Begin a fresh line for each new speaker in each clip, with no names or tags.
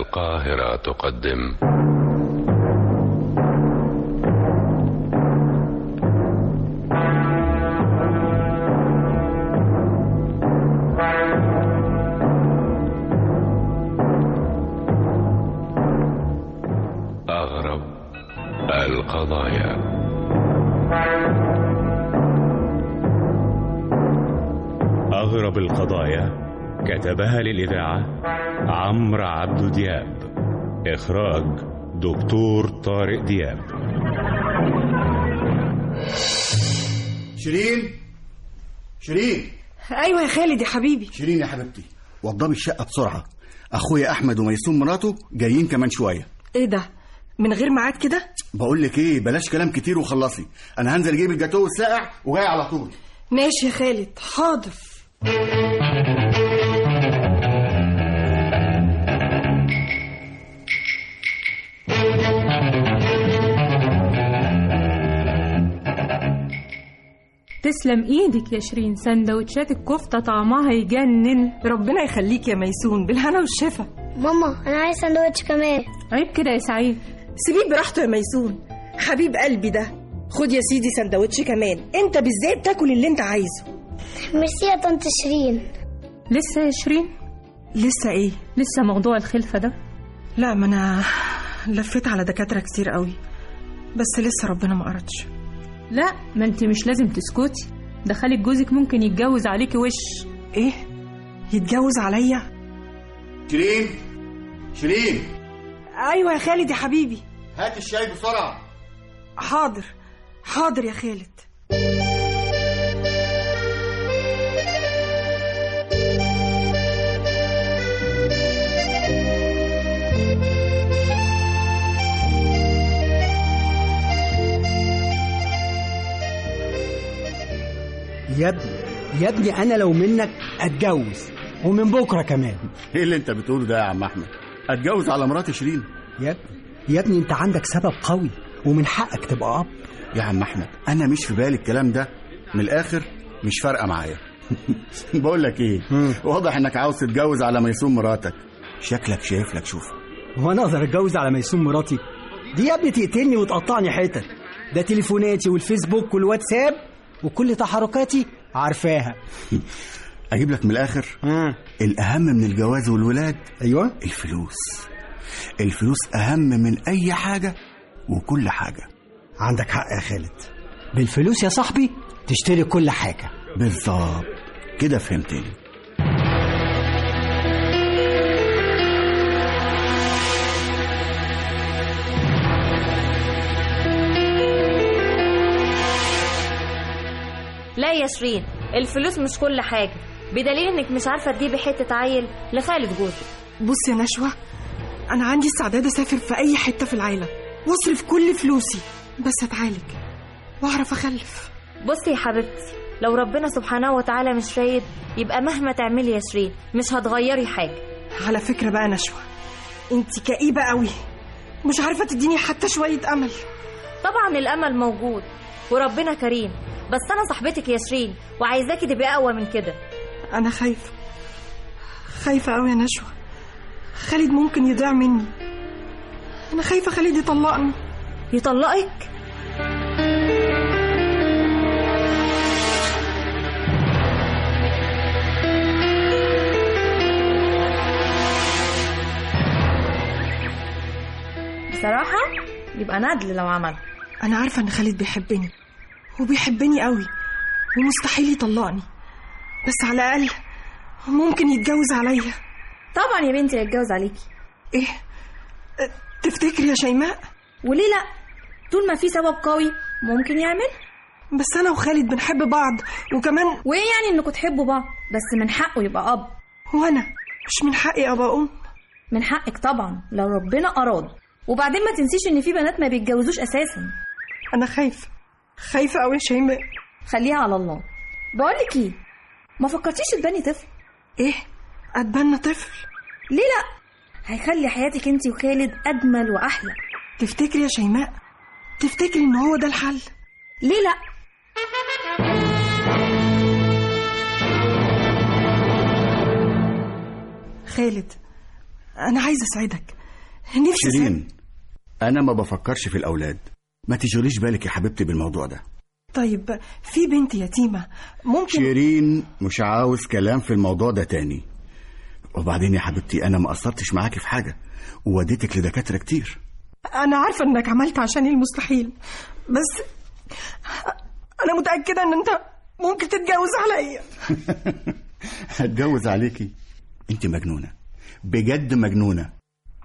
القاهرة تقدم أغرب القضايا
أغرب القضايا كتبها للإذاعة عمرو عبد دياب إخراج دكتور طارق دياب
شيرين شيرين
ايوه يا خالد يا حبيبي
شيرين يا حبيبتي وضبي الشقه بسرعه اخويا احمد وميسون مراته جايين كمان شويه
ايه ده من غير ميعاد كده
بقول لك ايه بلاش كلام كتير وخلصي انا هنزل اجيب الجاتوه الساقع وجاي على طول
ماشي يا خالد حاضر
تسلم ايدك يا شيرين سندوتشات الكفته طعمها يجنن
ربنا يخليك يا ميسون بالهنا والشفا
ماما انا عايز سندوتش كمان
عيب كده يا سعيد
سيبيه براحته يا ميسون حبيب قلبي ده خد يا سيدي سندوتش كمان انت بالذات تاكل اللي انت عايزه
ميرسي يا طنط شيرين
لسه يا شيرين
لسه ايه
لسه موضوع الخلفه ده
لا ما انا لفيت على دكاتره كتير قوي بس لسه ربنا ما قرتش
لا ما انت مش لازم تسكتي ده خالد جوزك ممكن يتجوز عليكي وش
ايه يتجوز عليا
شيرين شيرين
ايوه يا خالد يا حبيبي
هات الشاي بسرعه
حاضر حاضر يا خالد
يا ابني يا ابني انا لو منك اتجوز ومن بكره كمان
ايه اللي انت بتقوله ده يا عم احمد اتجوز على مرات شيرين
يا ابني يا ابني انت عندك سبب قوي ومن حقك تبقى اب
يا عم احمد انا مش في بالي الكلام ده من الاخر مش فارقه معايا بقول لك ايه
مم.
واضح انك عاوز تتجوز على ميسون مراتك شكلك شايف لك شوف
هو انا اقدر اتجوز على ميسون مراتي دي يا ابني تقتلني وتقطعني حتت ده تليفوناتي والفيسبوك والواتساب وكل تحركاتي عارفاها
اجيب لك من الاخر
ها
الاهم من الجواز والولاد
ايوه
الفلوس الفلوس أهم من أي حاجة وكل حاجة
عندك حق يا خالد بالفلوس يا صاحبي تشتري كل حاجه
بالظبط كده فهمتني
لا يا شيرين الفلوس مش كل حاجة بدليل انك مش عارفة تجيبي حتة عيل لخالد جوزك
بص يا نشوة أنا عندي استعداد أسافر في أي حتة في العالم وأصرف كل فلوسي بس أتعالج وأعرف أخلف
بصي يا حبيبتي لو ربنا سبحانه وتعالى مش رايد يبقى مهما تعملي يا شيرين مش هتغيري حاجة
على فكرة بقى نشوة أنت كئيبة قوي مش عارفة تديني حتى شوية أمل
طبعا الأمل موجود وربنا كريم بس أنا صاحبتك يا شيرين وعايزاكي تبقي أقوى من كده
أنا خايفة خايفة قوي يا نشوة خالد ممكن يضيع مني أنا خايفة خالد يطلقني
يطلقك بصراحة يبقى ندل لو عمل
أنا عارفة إن خالد بيحبني وبيحبني قوي ومستحيل يطلقني بس على الأقل ممكن يتجوز عليا
طبعا يا بنتي هيتجوز عليكي
إيه؟ أه، تفتكري يا شيماء؟
وليه لا طول ما في سبب قوي ممكن يعمل
بس أنا وخالد بنحب بعض وكمان
وايه يعني انكم تحبوا بعض بس من حقه يبقى اب
وأنا مش من حقي أبقى أم
من حقك طبعا لو ربنا اراد وبعدين ما تنسيش ان في بنات ما بيتجوزوش اساسا
أنا خايفة خايفة قوي يا شيماء
خليها على الله بقول لك ايه ما فكرتيش تبني طفل
إيه؟ أتبنى طفل؟
ليه لا هيخلي حياتك انت وخالد اجمل واحلى
تفتكري يا شيماء؟ تفتكري إن هو ده الحل؟
ليه لا
خالد أنا عايزة أساعدك نفسي أساعدك
شيرين انا ما بفكرش في الاولاد ما تشغليش بالك يا حبيبتي بالموضوع ده
طيب في بنت يتيمة ممكن
شيرين مش عاوز كلام في الموضوع ده تاني وبعدين يا حبيبتي انا ما قصرتش معاكي في حاجه ووديتك لدكاتره كتير
أنا عارفة إنك عملت عشان إيه المستحيل بس أنا متأكدة إن أنت ممكن تتجوز عليا
هتجوز عليكي انت مجنونه بجد مجنونه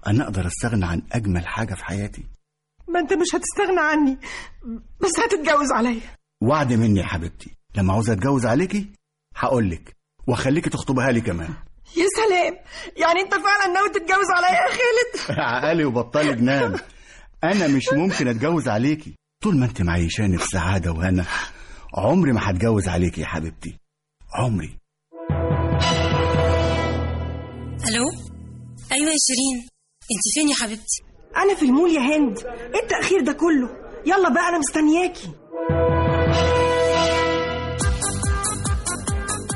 انا اقدر استغنى عن اجمل حاجه في حياتي
ما أنت مش هتستغنى عني بس هتتجوز عليا
وعد مني يا حبيبتي لما عاوز اتجوز عليكي هقولك واخليكي تخطبها لي كمان
يا سلام يعني أنت فعلا ناوي تتجوز عليا يا خالد
عقلي وبطلي جنان انا مش ممكن اتجوز عليكي طول ما انت معيشاني بسعاده وهنا عمري ما هتجوز عليكي يا حبيبتي عمري
الو ايوه يا شيرين انت فين يا حبيبتي
أنا في المول يا هند إيه التأخير ده كله يلا بقى أنا مستنياكي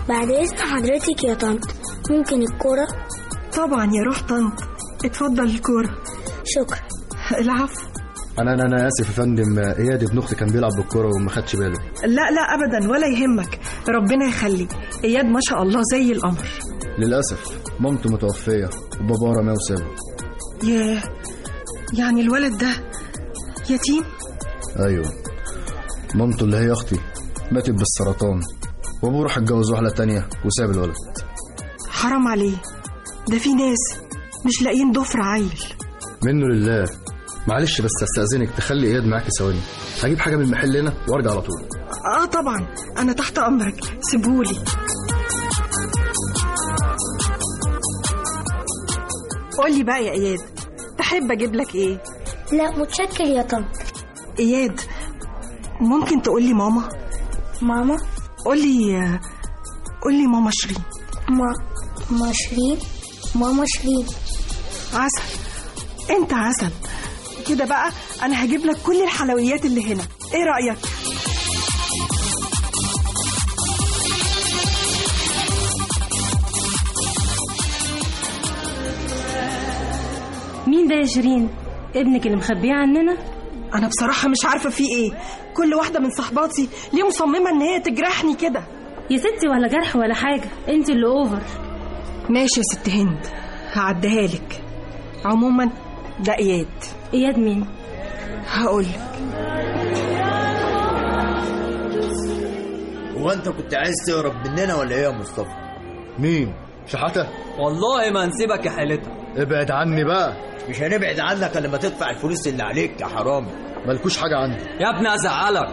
بعد إذن حضرتك يا طنط ممكن الكورة
طبعا يا روح طنط اتفضل الكورة
شكرا
العفو
انا انا انا اسف يا فندم اياد ابن اختي كان بيلعب بالكوره وما خدش باله
لا لا ابدا ولا يهمك ربنا يخليك اياد ما شاء الله زي القمر
للاسف مامته متوفيه وبابا رماه وسابه
ياه يعني الولد ده يتيم
ايوه مامته اللي هي اختي ماتت بالسرطان وابوه راح اتجوز واحده تانية وساب الولد
حرام عليه ده في ناس مش لاقيين ضفر عيل
منه لله معلش بس استاذنك تخلي اياد معاكي ثواني هجيب حاجه من المحل هنا وارجع على طول
اه طبعا انا تحت امرك سيبولي قولي بقى يا اياد تحب اجيب لك ايه
لا متشكر يا طنط
اياد ممكن تقولي ماما
ماما
قولي قولي ماما شيرين
ما ما شيرين ماما شيرين
عسل انت عسل كده بقى انا هجيب لك كل الحلويات اللي هنا ايه رايك
مين ده يا شيرين ابنك اللي مخبيه عننا
انا بصراحه مش عارفه في ايه كل واحده من صحباتي ليه مصممه ان هي تجرحني كده
يا ستي ولا جرح ولا حاجه انت اللي اوفر
ماشي يا ست هند هعديها لك عموما ده اياد
اياد مين
هقول لك
هو انت كنت عايز تهرب مننا ولا ايه يا مصطفى؟
مين شحاته
والله ما هنسيبك يا حالتها
ابعد عني بقى
مش هنبعد عنك الا ما تدفع الفلوس اللي عليك يا حرامي
مالكوش حاجه عندي
يا ابني ازعلك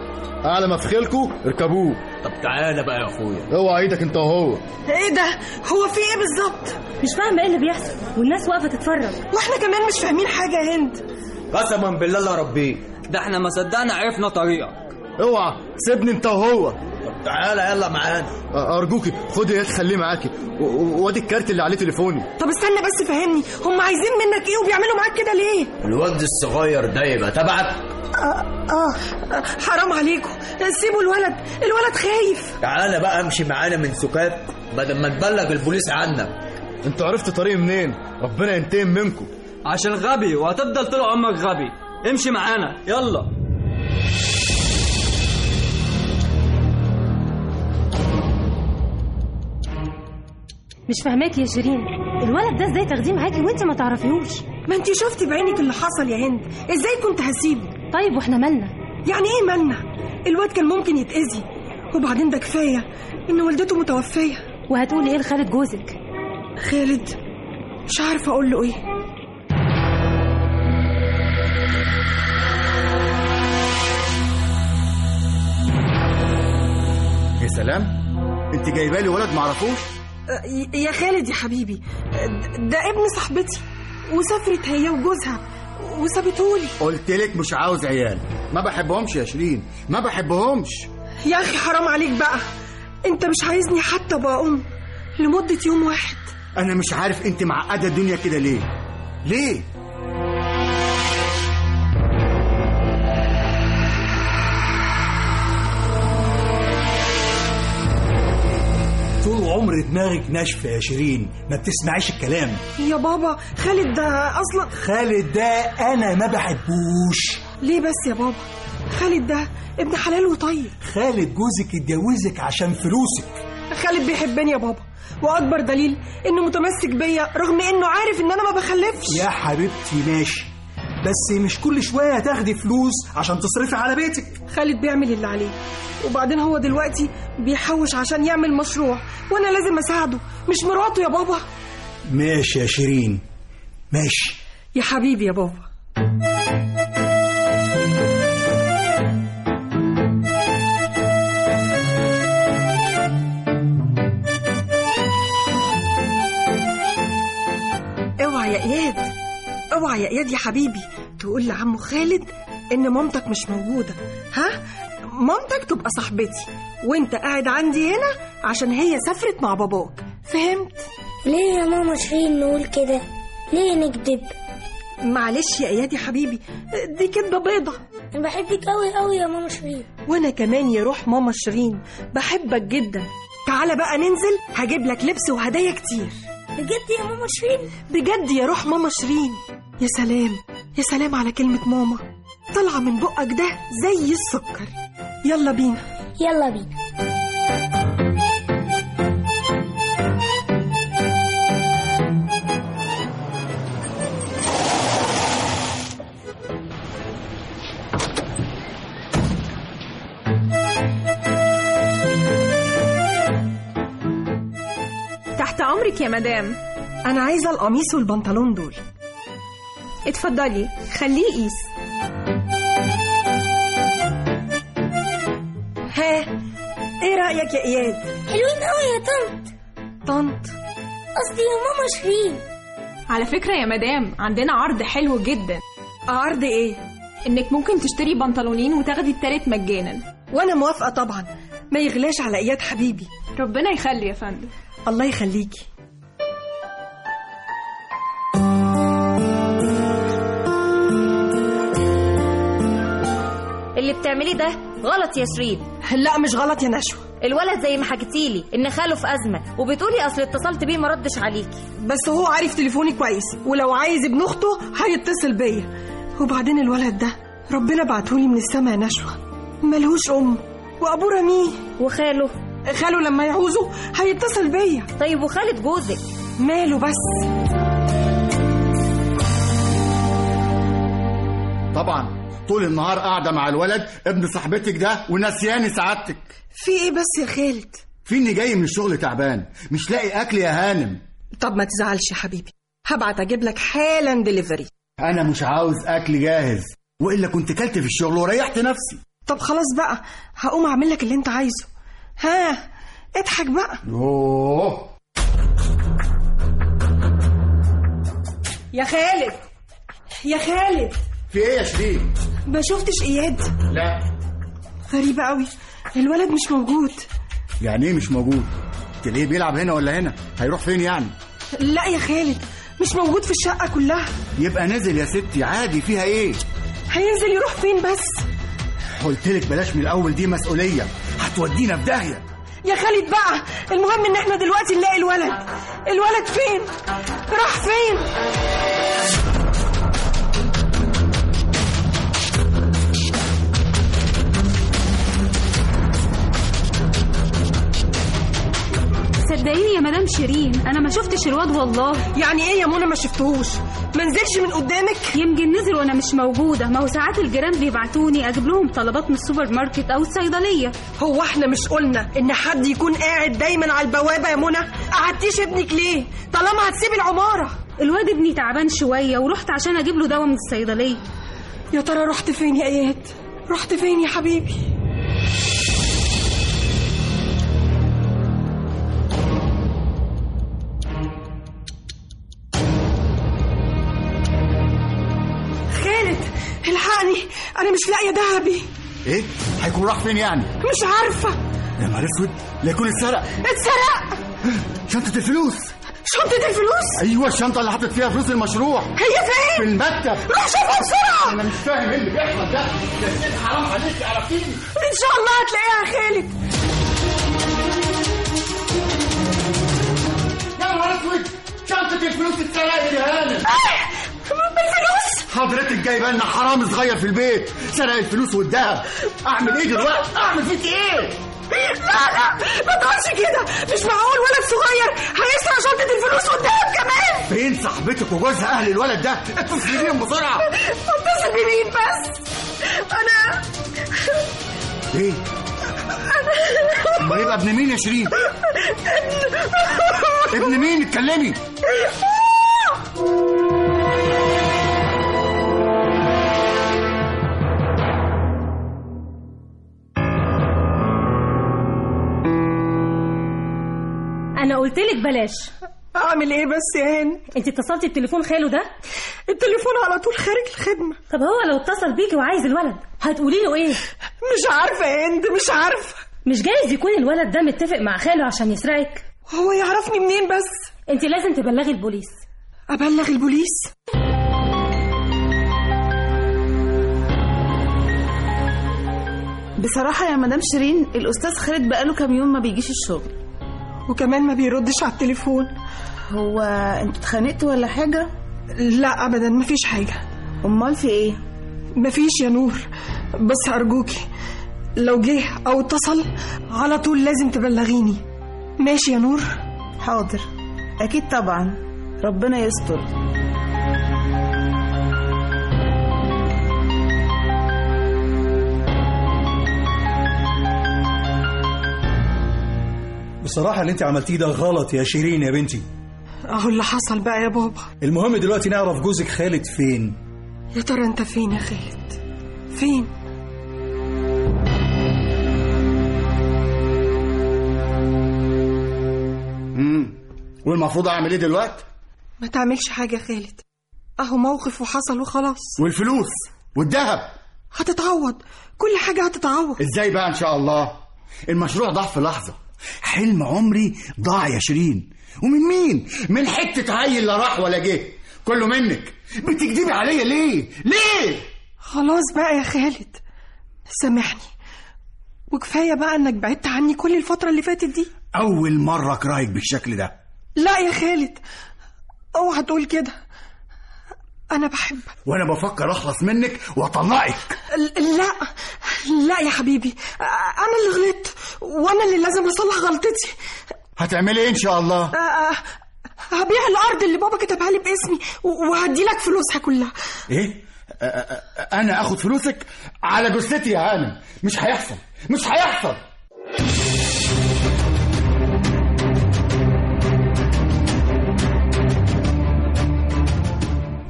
اعلى ما في خيلكوا اركبوه
طب تعالى بقى يا اخويا
اوعى ايدك انت وهو
ايه ده هو في ايه بالظبط
مش فاهمه ايه اللي بيحصل والناس واقفه تتفرج
واحنا كمان مش فاهمين حاجه يا هند
قسما بالله لا ربيه
ده احنا ما صدقنا عرفنا طريقك
اوعى سيبني انت وهو
طب تعالى يلا معانا
ارجوكي خدي اياد خليه معاكي و- و- وادي الكارت اللي عليه تليفوني
طب استنى بس فهمني هم عايزين منك ايه وبيعملوا معاك كده ليه
الواد الصغير ده يبقى تبعك
اه حرام عليكم سيبوا الولد الولد خايف
تعالى بقى امشي معانا من سكات بدل ما نبلغ البوليس عنك
انتوا عرفتوا طريق منين ربنا ينتقم منكم
عشان غبي وهتفضل طول عمرك غبي امشي معانا يلا
مش فاهماك يا شيرين الولد ده ازاي تاخديه معاكي وانت ما تعرفيهوش
ما انت شفتي بعينك اللي حصل يا هند ازاي كنت هسيبه
طيب واحنا مالنا
يعني ايه مالنا الواد كان ممكن يتأذي وبعدين ده كفايه ان والدته متوفيه
وهتقول ايه لخالد جوزك
خالد مش عارفه اقول له ايه
يا سلام انت جايبه لي ولد معرفوش
أه، ي- يا خالد يا حبيبي أه، د- ده ابن صاحبتي وسافرت هي وجوزها وسابتهولي
قلت لك مش عاوز عيال ما بحبهمش يا شيرين ما بحبهمش
يا اخي حرام عليك بقى انت مش عايزني حتى ابقى ام لمده يوم واحد
انا مش عارف انت معقده الدنيا كده ليه ليه
طول عمر دماغك ناشفه يا شيرين ما بتسمعيش الكلام
يا بابا خالد ده اصلا
خالد ده انا ما بحبوش
ليه بس يا بابا خالد ده ابن حلال وطيب
خالد جوزك اتجوزك عشان فلوسك
خالد بيحبني يا بابا واكبر دليل انه متمسك بيا رغم انه عارف ان انا ما بخلفش
يا حبيبتي ماشي بس مش كل شويه هتاخدي فلوس عشان تصرفي على بيتك
خالد بيعمل اللي عليه وبعدين هو دلوقتي بيحوش عشان يعمل مشروع وانا لازم اساعده مش مراته يا بابا
ماشي يا شيرين ماشي
يا حبيبي يا بابا اوعى يا اياد اوعى يا اياد يا حبيبي تقول لعمه خالد ان مامتك مش موجوده ها مامتك تبقى صاحبتي وانت قاعد عندي هنا عشان هي سافرت مع باباك فهمت
ليه يا ماما شيرين نقول كده ليه نكذب
معلش يا اياد يا حبيبي دي كدبه بيضه
انا بحبك قوي قوي يا ماما شيرين
وانا كمان يا روح ماما شيرين بحبك جدا تعالى بقى ننزل هجيب لك لبس وهدايا كتير
بجد يا ماما شيرين
بجد يا روح ماما شيرين يا سلام يا سلام على كلمة ماما طالعة من بقك ده زي السكر يلا بينا
يلا بينا
تحت امرك يا مدام
أنا عايزة القميص والبنطلون دول
اتفضلي خليه يقيس
ها ايه رأيك يا اياد
حلوين قوي يا طنط
طنط
قصدي يا ماما شيرين
على فكرة يا مدام عندنا عرض حلو جدا
عرض ايه
انك ممكن تشتري بنطلونين وتاخدي التالت مجانا
وانا موافقة طبعا ما يغلاش على اياد حبيبي
ربنا يخلي يا فندم
الله يخليكي
اللي بتعمليه ده غلط يا شيرين
لا مش غلط يا نشوى
الولد زي ما حكيتيلي ان خاله في ازمه وبتقولي اصل اتصلت بيه ما ردش عليكي
بس هو عارف تليفوني كويس ولو عايز ابن اخته هيتصل بيا وبعدين الولد ده ربنا بعتهولي من السما يا نشوى ملهوش ام وابوه رميه
وخاله
خاله لما يعوزه هيتصل بيا
طيب وخالد جوزك
ماله بس
طبعا طول النهار قاعده مع الولد ابن صاحبتك ده ونسياني سعادتك
في ايه بس يا خالد
في اني جاي من الشغل تعبان مش لاقي اكل يا هانم
طب ما تزعلش يا حبيبي هبعت اجيب لك حالا دليفري
انا مش عاوز اكل جاهز والا كنت كلت في الشغل وريحت نفسي
طب خلاص بقى هقوم اعمل لك اللي انت عايزه ها اضحك بقى
اوه
يا خالد يا خالد
في ايه يا شيرين
ما شفتش اياد
لا
غريبه قوي الولد مش موجود
يعني ايه مش موجود تلاقيه بيلعب هنا ولا هنا هيروح فين يعني
لا يا خالد مش موجود في الشقه كلها
يبقى نازل يا ستي عادي فيها ايه
هينزل يروح فين بس
قلت لك بلاش من الاول دي مسؤوليه هتودينا في داهيه
يا خالد بقى المهم ان احنا دلوقتي نلاقي الولد الولد فين راح فين
صدقيني يا مدام شيرين انا ما شفتش الواد والله
يعني ايه يا منى ما شفتهوش ما نزلش من قدامك
يمكن نزل وانا مش موجوده ما هو ساعات الجيران بيبعتوني اجيب لهم طلبات من السوبر ماركت او الصيدليه
هو احنا مش قلنا ان حد يكون قاعد دايما على البوابه يا منى قعدتيش ابنك ليه طالما هتسيب العماره
الواد ابني تعبان شويه ورحت عشان اجيب له دواء من الصيدليه
يا ترى رحت فين يا اياد رحت فين يا حبيبي الحقني انا مش لاقيه ذهبي
ايه هيكون راح فين يعني
مش عارفه
يا نهار اسود لا يكون اتسرق
اتسرق
شنطه الفلوس
شنطه الفلوس
ايوه الشنطه اللي حاطط فيها فلوس المشروع
هي فين
في المكتب
روح شوفها بسرعه
انا مش فاهم ايه اللي بيحصل ده يا ست حرام عليك عرفتيني
ان شاء الله هتلاقيها يا خالد
اسود شنطه الفلوس اتسرقت يا هانم
بالفلوس
حضرتك جايبه لنا حرامي صغير في البيت سرق الفلوس والذهب اعمل ايه دلوقتي اعمل فيك ايه
لا لا ما تقولش كده مش معقول ولد صغير هيسرق شنطة الفلوس والذهب كمان
فين صاحبتك وجوزها اهل الولد ده اتصلي بيهم بسرعه
اتصل بمين بس انا
ايه امال يبقى ابن مين يا شيرين ابن مين اتكلمي
انا قلت لك بلاش
اعمل ايه بس يا هان
انت اتصلتي بتليفون خاله ده
التليفون على طول خارج الخدمه
طب هو لو اتصل بيكي وعايز الولد هتقولي له ايه
مش عارفه يا هند مش عارفه
مش جايز يكون الولد ده متفق مع خاله عشان يسرقك
هو يعرفني منين بس
انت لازم تبلغي البوليس
ابلغ البوليس
بصراحة يا مدام شيرين الأستاذ خالد بقاله كام يوم ما بيجيش الشغل
وكمان ما بيردش على التليفون
هو انتوا اتخانقتوا ولا حاجة؟
لا ابدا مفيش حاجه
امال في ايه
مفيش يا نور بس ارجوكي لو جه او اتصل على طول لازم تبلغيني ماشي يا نور
حاضر أكيد طبعا ربنا يستر
بصراحة اللي انت عملتيه ده غلط يا شيرين يا بنتي
اهو اللي حصل بقى يا بابا
المهم دلوقتي نعرف جوزك خالد فين
يا ترى انت فين يا خالد فين
امم والمفروض اعمل ايه دلوقتي
ما تعملش حاجه يا خالد اهو موقف وحصل وخلاص
والفلوس والذهب
هتتعوض كل حاجه هتتعوض
ازاي بقى ان شاء الله المشروع ضاع في لحظه حلم عمري ضاع يا شيرين ومن مين من حته عيل لا راح ولا جه كله منك بتكدبي عليا ليه ليه
خلاص بقى يا خالد سامحني وكفايه بقى انك بعدت عني كل الفتره اللي فاتت دي
اول مره اكرهك بالشكل ده
لا يا خالد اوعى تقول كده انا بحبك
وانا بفكر اخلص منك واطلقك
ل- لا لا يا حبيبي انا اللي غلطت وانا اللي لازم اصلح غلطتي
هتعملي ايه ان شاء الله
آه، هبيع الارض اللي بابا كتبها لي باسمي و- وهدي لك فلوسها كلها
ايه أ- أ- أ- انا اخد فلوسك على جثتي يا هانم مش هيحصل مش هيحصل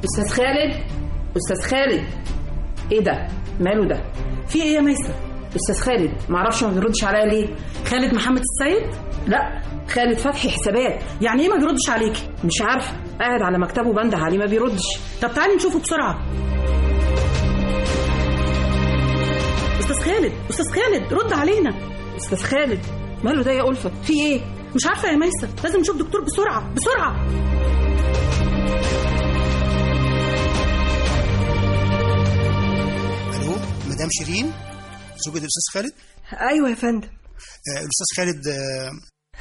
أستاذ خالد أستاذ خالد إيه ده؟ ماله ده؟ في إيه يا ميسة؟ أستاذ خالد معرفش ما بيردش عليا ليه؟ خالد محمد السيد؟ لا خالد فتحي حسابات يعني إيه ما بيردش عليكي؟ مش عارفة قاعد على مكتبه بنده عليه ما بيردش طب تعالي نشوفه بسرعة أستاذ خالد أستاذ خالد رد علينا أستاذ خالد ماله ده يا ألفة؟ في إيه؟ مش عارفة يا ميسة لازم نشوف دكتور بسرعة بسرعة
الو مدام شيرين زوجة الاستاذ خالد
ايوه يا فندم
آه، الاستاذ خالد آه،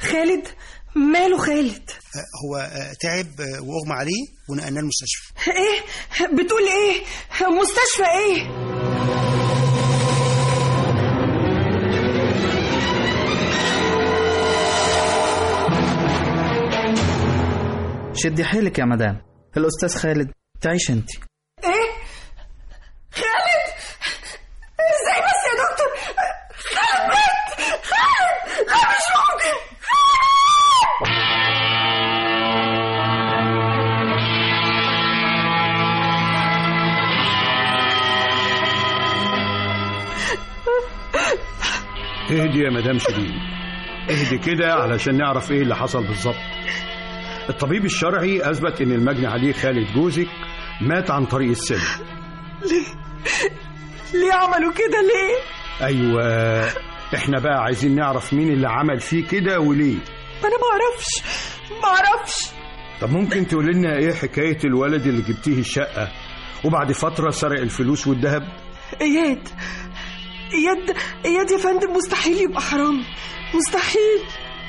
خالد ماله خالد
آه، هو آه، تعب آه، واغمى عليه ونقلناه المستشفى
ايه بتقول ايه مستشفى ايه
شدي حيلك يا مدام الأستاذ خالد تعيش أنت
ايه خالد ازاي بس يا دكتور خالد مات خالد لا مش ممكن
اهدي يا مدام شيرين اهدي كده علشان نعرف ايه اللي حصل بالظبط الطبيب الشرعي اثبت ان المجني عليه خالد جوزك مات عن طريق السم
ليه عملوا كده ليه
ايوه احنا بقى عايزين نعرف مين اللي عمل فيه كده وليه
انا ما اعرفش ما اعرفش
طب ممكن تقول لنا ايه حكايه الولد اللي جبتيه الشقه وبعد فتره سرق الفلوس والذهب
اياد اياد اياد يا فندم مستحيل يبقى حرامي مستحيل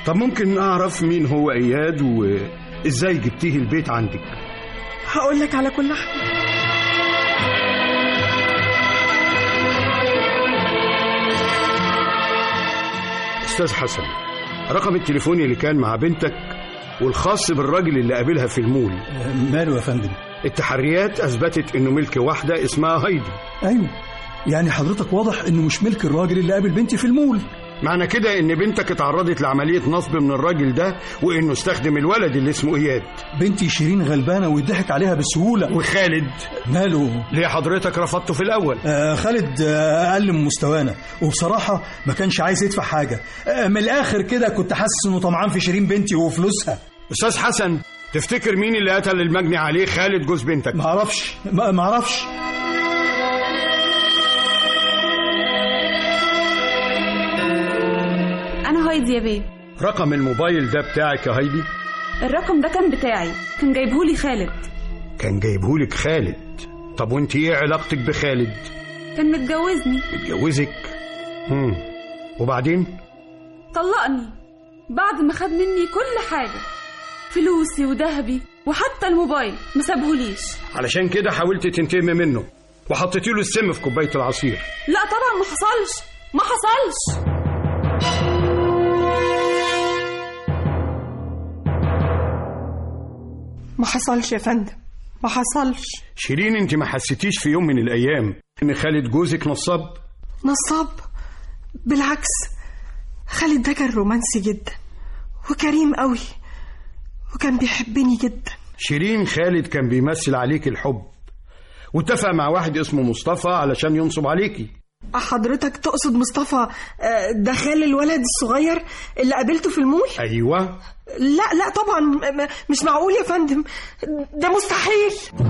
طب ممكن اعرف مين هو اياد و... ازاي جبتيه البيت عندك
هقول لك على كل حاجة
استاذ حسن رقم التليفون اللي كان مع بنتك والخاص بالراجل اللي قابلها في المول
ماله يا فندم
التحريات اثبتت انه ملك واحده اسمها هايدي
ايوه يعني حضرتك واضح انه مش ملك الراجل اللي قابل بنتي في المول
معنى كده ان بنتك اتعرضت لعمليه نصب من الراجل ده وانه استخدم الولد اللي اسمه اياد
بنتي شيرين غلبانه ويضحك عليها بسهوله
وخالد
ماله
ليه حضرتك رفضته في الاول
آه خالد آه اقل من مستوانا وبصراحه ما كانش عايز يدفع حاجه آه من الاخر كده كنت حاسس انه طمعان في شيرين بنتي وفلوسها
استاذ حسن تفتكر مين اللي قتل المجني عليه خالد جوز بنتك
معرفش ما- معرفش
انا هايدي يا بيه
رقم الموبايل ده بتاعك يا هايدي
الرقم ده كان بتاعي كان جايبهولي خالد
كان جايبهولك خالد طب وانت ايه علاقتك بخالد
كان متجوزني
متجوزك مم. وبعدين
طلقني بعد ما خد مني كل حاجة فلوسي وذهبي وحتى الموبايل ما سابهوليش
علشان كده حاولت تنتقمي منه وحطيتي له السم في كوبايه العصير
لا طبعا ما حصلش ما حصلش
ما حصلش يا فندم ما حصلش
شيرين انت ما حسيتيش في يوم من الايام ان خالد جوزك نصاب
نصاب بالعكس خالد ده كان رومانسي جدا وكريم قوي وكان بيحبني جدا
شيرين خالد كان بيمثل عليك الحب واتفق مع واحد اسمه مصطفى علشان ينصب عليكي
حضرتك تقصد مصطفى آه، ده خال الولد الصغير اللي قابلته في المول
أيوة.
ايوه
لا لا طبعا م- م- مش معقول يا فندم ده مستحيل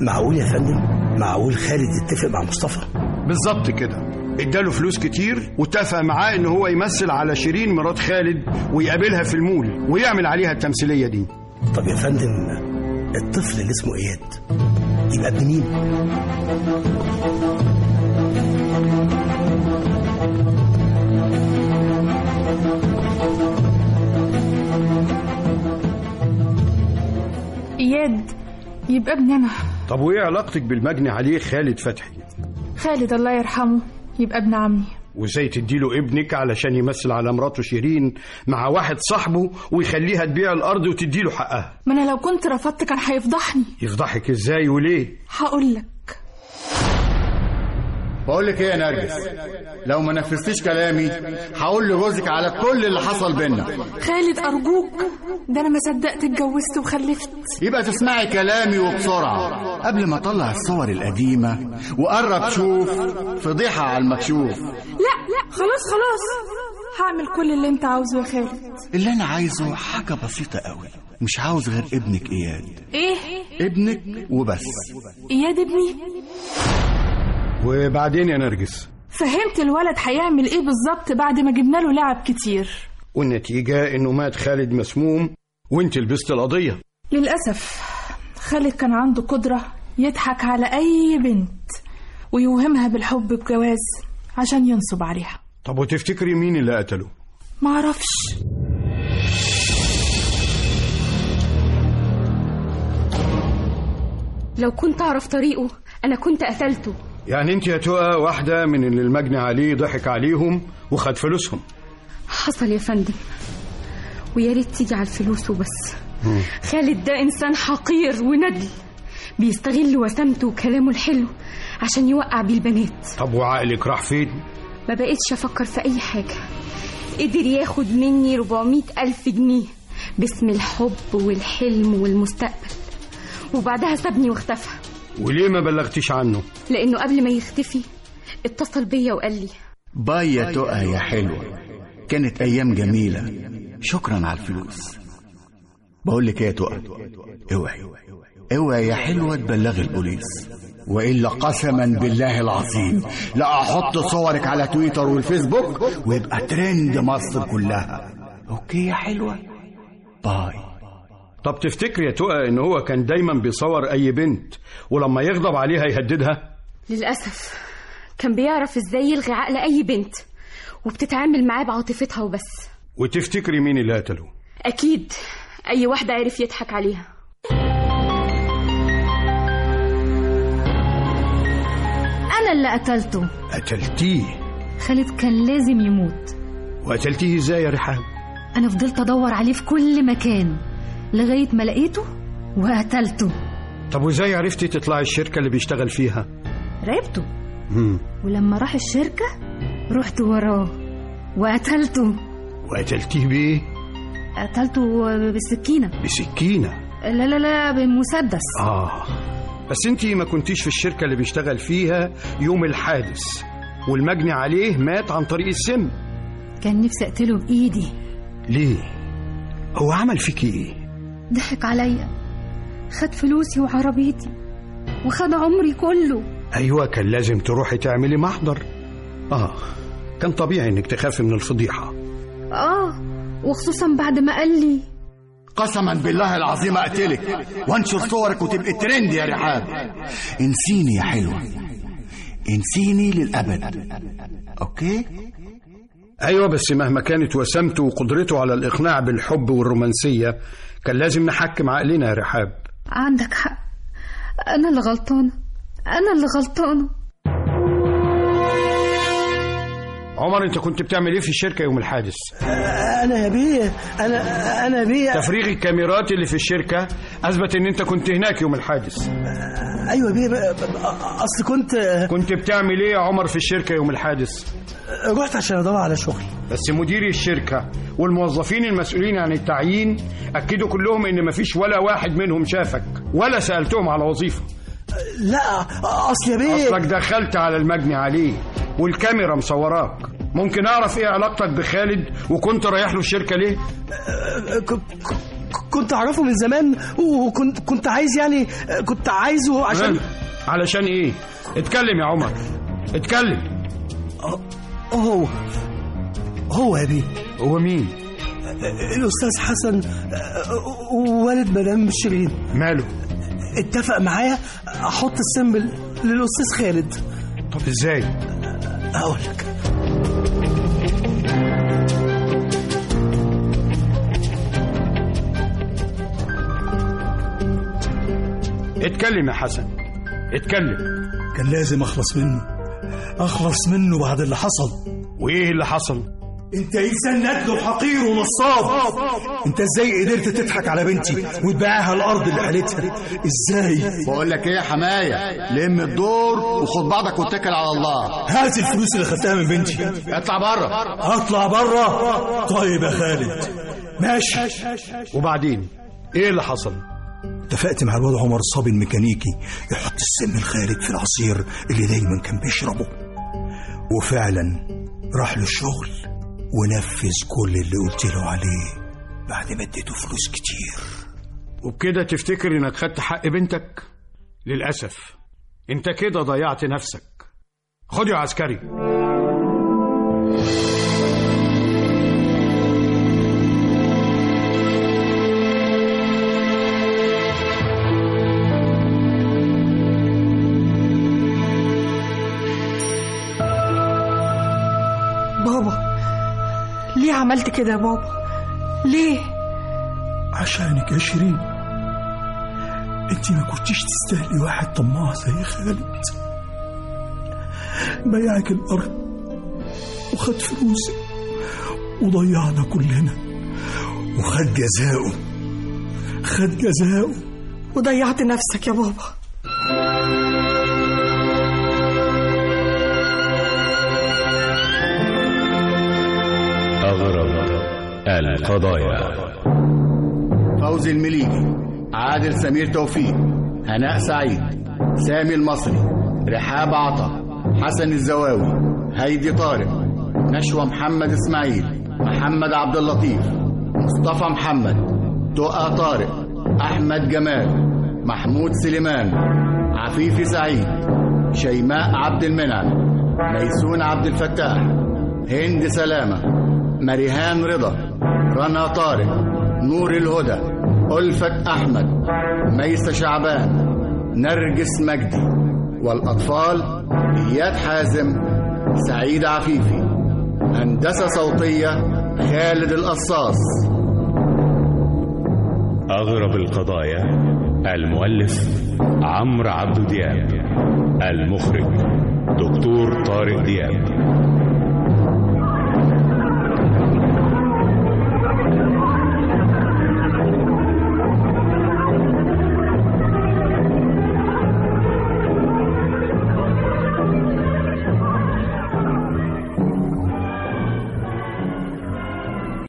معقول يا فندم معقول خالد اتفق مع مصطفى
بالظبط كده اداله فلوس كتير واتفق معاه ان هو يمثل على شيرين مرات خالد ويقابلها في المول ويعمل عليها التمثيليه دي
طب يا فندم الطفل اللي اسمه اياد يبقى ابن مين
اياد يبقى ابني انا
طب وايه علاقتك بالمجني عليه خالد فتحي
خالد الله يرحمه يبقى ابن عمي
وازاي تديله ابنك علشان يمثل على مراته شيرين مع واحد صاحبه ويخليها تبيع الارض وتديله حقها
ما انا لو كنت رفضت كان هيفضحني
يفضحك ازاي وليه
هقول لك
بقول لك ايه يا نرجس لو ما نفذتيش كلامي هقول لجوزك على كل اللي حصل بينا
خالد ارجوك ده انا ما صدقت اتجوزت وخلفت
يبقى تسمعي كلامي وبسرعة قبل ما أطلع الصور القديمة وقرب شوف فضيحة على المكشوف
لا لا خلاص خلاص هعمل كل اللي انت عاوزه يا خالد
اللي أنا عايزه حاجة بسيطة قوي مش عاوز غير ابنك إياد
ايه
ابنك وبس
اياد ابني
وبعدين إيه، يا نرجس
فهمت الولد هيعمل ايه بالظبط بعد ما جبنا له لعب كتير
والنتيجه انه مات خالد مسموم وانت لبست القضيه
للاسف خالد كان عنده قدره يضحك على اي بنت ويوهمها بالحب بجواز عشان ينصب عليها
طب وتفتكري مين اللي قتله
معرفش
لو كنت أعرف طريقه أنا كنت قتلته
يعني انت يا تقى واحده من اللي المجني عليه ضحك عليهم وخد فلوسهم
حصل يا فندم ويا ريت تيجي على الفلوس وبس خالد ده إنسان حقير وندل بيستغل وسامته وكلامه الحلو عشان يوقع بيه البنات
طب وعقلك راح فين
ما بقتش أفكر في أي حاجة قدر ياخد مني 400 ألف جنيه باسم الحب والحلم والمستقبل وبعدها سابني واختفى
وليه ما بلغتيش عنه
لأنه قبل ما يختفي اتصل بيا وقال لي
باي يا تقى يا حلوة كانت أيام جميلة شكرا على الفلوس بقول لك إيه يا تقى اوعي اوعي يا حلوة تبلغي البوليس
وإلا قسما بالله العظيم لا أحط صورك على تويتر والفيسبوك ويبقى ترند مصر كلها أوكي يا حلوة
باي طب تفتكري يا تقى ان هو كان دايما بيصور اي بنت ولما يغضب عليها يهددها
للأسف
كان بيعرف ازاي يلغي عقل اي بنت وبتتعامل معاه بعاطفتها وبس
وتفتكري مين اللي قتله
اكيد اي واحده عرف يضحك عليها
أنا اللي قتلته
قتلتيه
خالد كان لازم يموت
وقتلتيه ازاي يا رحاب
أنا فضلت أدور عليه في كل مكان لغاية ما لقيته وقتلته
طب وازاي عرفتي تطلعي الشركه اللي بيشتغل فيها
راقبته
مم.
ولما راح الشركة رحت وراه وقتلته
وقتلتيه بايه
قتلته بالسكينة
بسكينه
لا لا لا بمسدس
اه بس انت ما كنتيش في الشركه اللي بيشتغل فيها يوم الحادث والمجني عليه مات عن طريق السم
كان نفسي أقتله بإيدي
ليه هو عمل فيكي ايه
إيه؟
ضحك عليا خد فلوسي وعربيتي وخد عمري كله
ايوه كان لازم تروحي تعملي محضر اه كان طبيعي انك تخافي من الفضيحه
آه وخصوصا بعد ما قال لي
قسما بالله العظيم اقتلك وانشر صورك وتبقى ترند يا رحاب
انسيني يا حلوة انسيني للأبد أوكي
ايوه بس مهما كانت وسامته وقدرته على الاقناع بالحب والرومانسيه كان لازم نحكم عقلنا يا رحاب
عندك حق أنا اللي غلطانة أنا اللي غلطانة
عمر انت كنت بتعمل ايه في الشركه يوم الحادث
انا يا بيه انا انا بيه
تفريغ الكاميرات اللي في الشركه اثبت ان انت كنت هناك يوم الحادث
ايوه يا بيه ب- ب- اصل كنت
كنت بتعمل ايه يا عمر في الشركه يوم الحادث
رحت عشان ادور على شغل
بس مدير الشركه والموظفين المسؤولين عن التعيين اكدوا كلهم ان مفيش ولا واحد منهم شافك ولا سالتهم على وظيفه
لا اصل يا بيه
اصلك دخلت على المجني عليه والكاميرا مصوراك ممكن اعرف ايه علاقتك بخالد وكنت رايح له الشركه ليه
ك- كنت اعرفه من زمان وكنت كنت عايز يعني كنت عايزه عشان
ها؟ علشان ايه اتكلم يا عمر اتكلم
هو هو يا بيه
هو مين
الاستاذ حسن والد مدام شيرين
ماله
اتفق معايا احط السمبل للاستاذ خالد
طب ازاي
اقول لك
اتكلم يا حسن اتكلم
كان لازم اخلص منه اخلص منه بعد اللي حصل
وايه اللي حصل
انت انسان ندل وحقير ونصاب انت ازاي قدرت تضحك على بنتي وتبيعها الارض اللي حالتها ازاي
بقول لك ايه يا
آية.
حمايه لم الدور وخد بعضك واتكل على الله
هات الفلوس اللي خدتها من بنتي
اطلع بره
اطلع بره طيب يا خالد ماشي
وبعدين ايه اللي حصل
اتفقت مع الواد عمر الصبي الميكانيكي يحط السم الخالد في العصير اللي دايما كان بيشربه وفعلا راح له الشغل ونفذ كل اللي قلت له عليه بعد ما اديته فلوس كتير
وبكده تفتكر انك خدت حق بنتك للاسف انت كده ضيعت نفسك خد يا عسكري
بابا ليه عملت كده يا بابا ليه
عشانك يا شيرين انت ما كنتيش تستاهلي واحد طماع زي خالد بيعك الارض وخد فلوسك وضيعنا كلنا وخد جزاؤه خد جزاؤه
وضيعت نفسك يا بابا
أغرب القضايا
فوزي المليجي عادل سمير توفيق هناء سعيد سامي المصري رحاب عطا حسن الزواوي هيدي طارق نشوى محمد اسماعيل محمد عبد اللطيف مصطفى محمد تقى طارق احمد جمال محمود سليمان عفيفي سعيد شيماء عبد المنعم ميسون عبد الفتاح هند سلامه مريهان رضا رنا طارق نور الهدى ألفت أحمد ميسة شعبان نرجس مجدي والأطفال إياد حازم سعيد عفيفي هندسة صوتية خالد القصاص
أغرب القضايا المؤلف عمرو عبد دياب المخرج دكتور طارق دياب